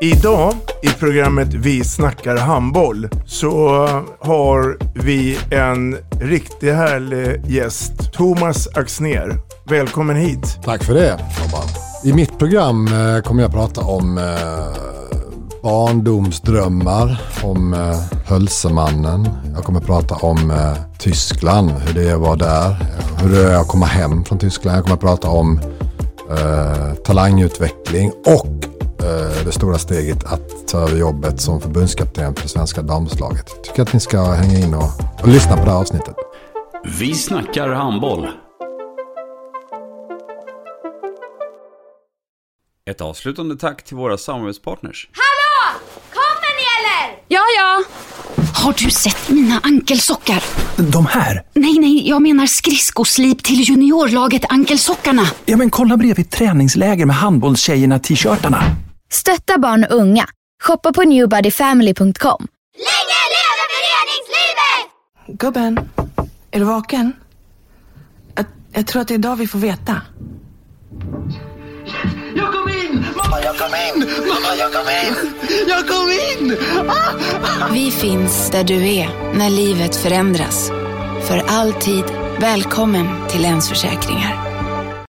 Idag i programmet Vi snackar handboll så har vi en riktigt härlig gäst. Thomas Axner. Välkommen hit. Tack för det, Robban. I mitt program eh, kommer jag prata om eh, barndomsdrömmar, om eh, Hölsemannen. Jag kommer prata om eh, Tyskland, hur det var där, eh, hur det är att komma hem från Tyskland. Jag kommer prata om eh, talangutveckling och eh, det stora steget att ta över jobbet som förbundskapten för svenska damslaget. Tycker att ni ska hänga in och, och lyssna på det här avsnittet. Vi snackar handboll. Ett avslutande tack till våra samarbetspartners. Hallå! Kommer ni eller? Ja, ja. Har du sett mina ankelsockar? De här? Nej, nej, jag menar skridskoslip till juniorlaget Ankelsockarna. Ja, men kolla bredvid träningsläger med handbollstjejerna-t-shirtarna. Stötta barn och unga. Shoppa på newbodyfamily.com. Länge leve föreningslivet! Gubben, är du vaken? Jag, jag tror att det är idag vi får veta. Jag kom in! Mamma, jag kom in! Mamma, jag kom in! Jag kom in! Ah! Vi finns där du är när livet förändras. För alltid välkommen till Länsförsäkringar.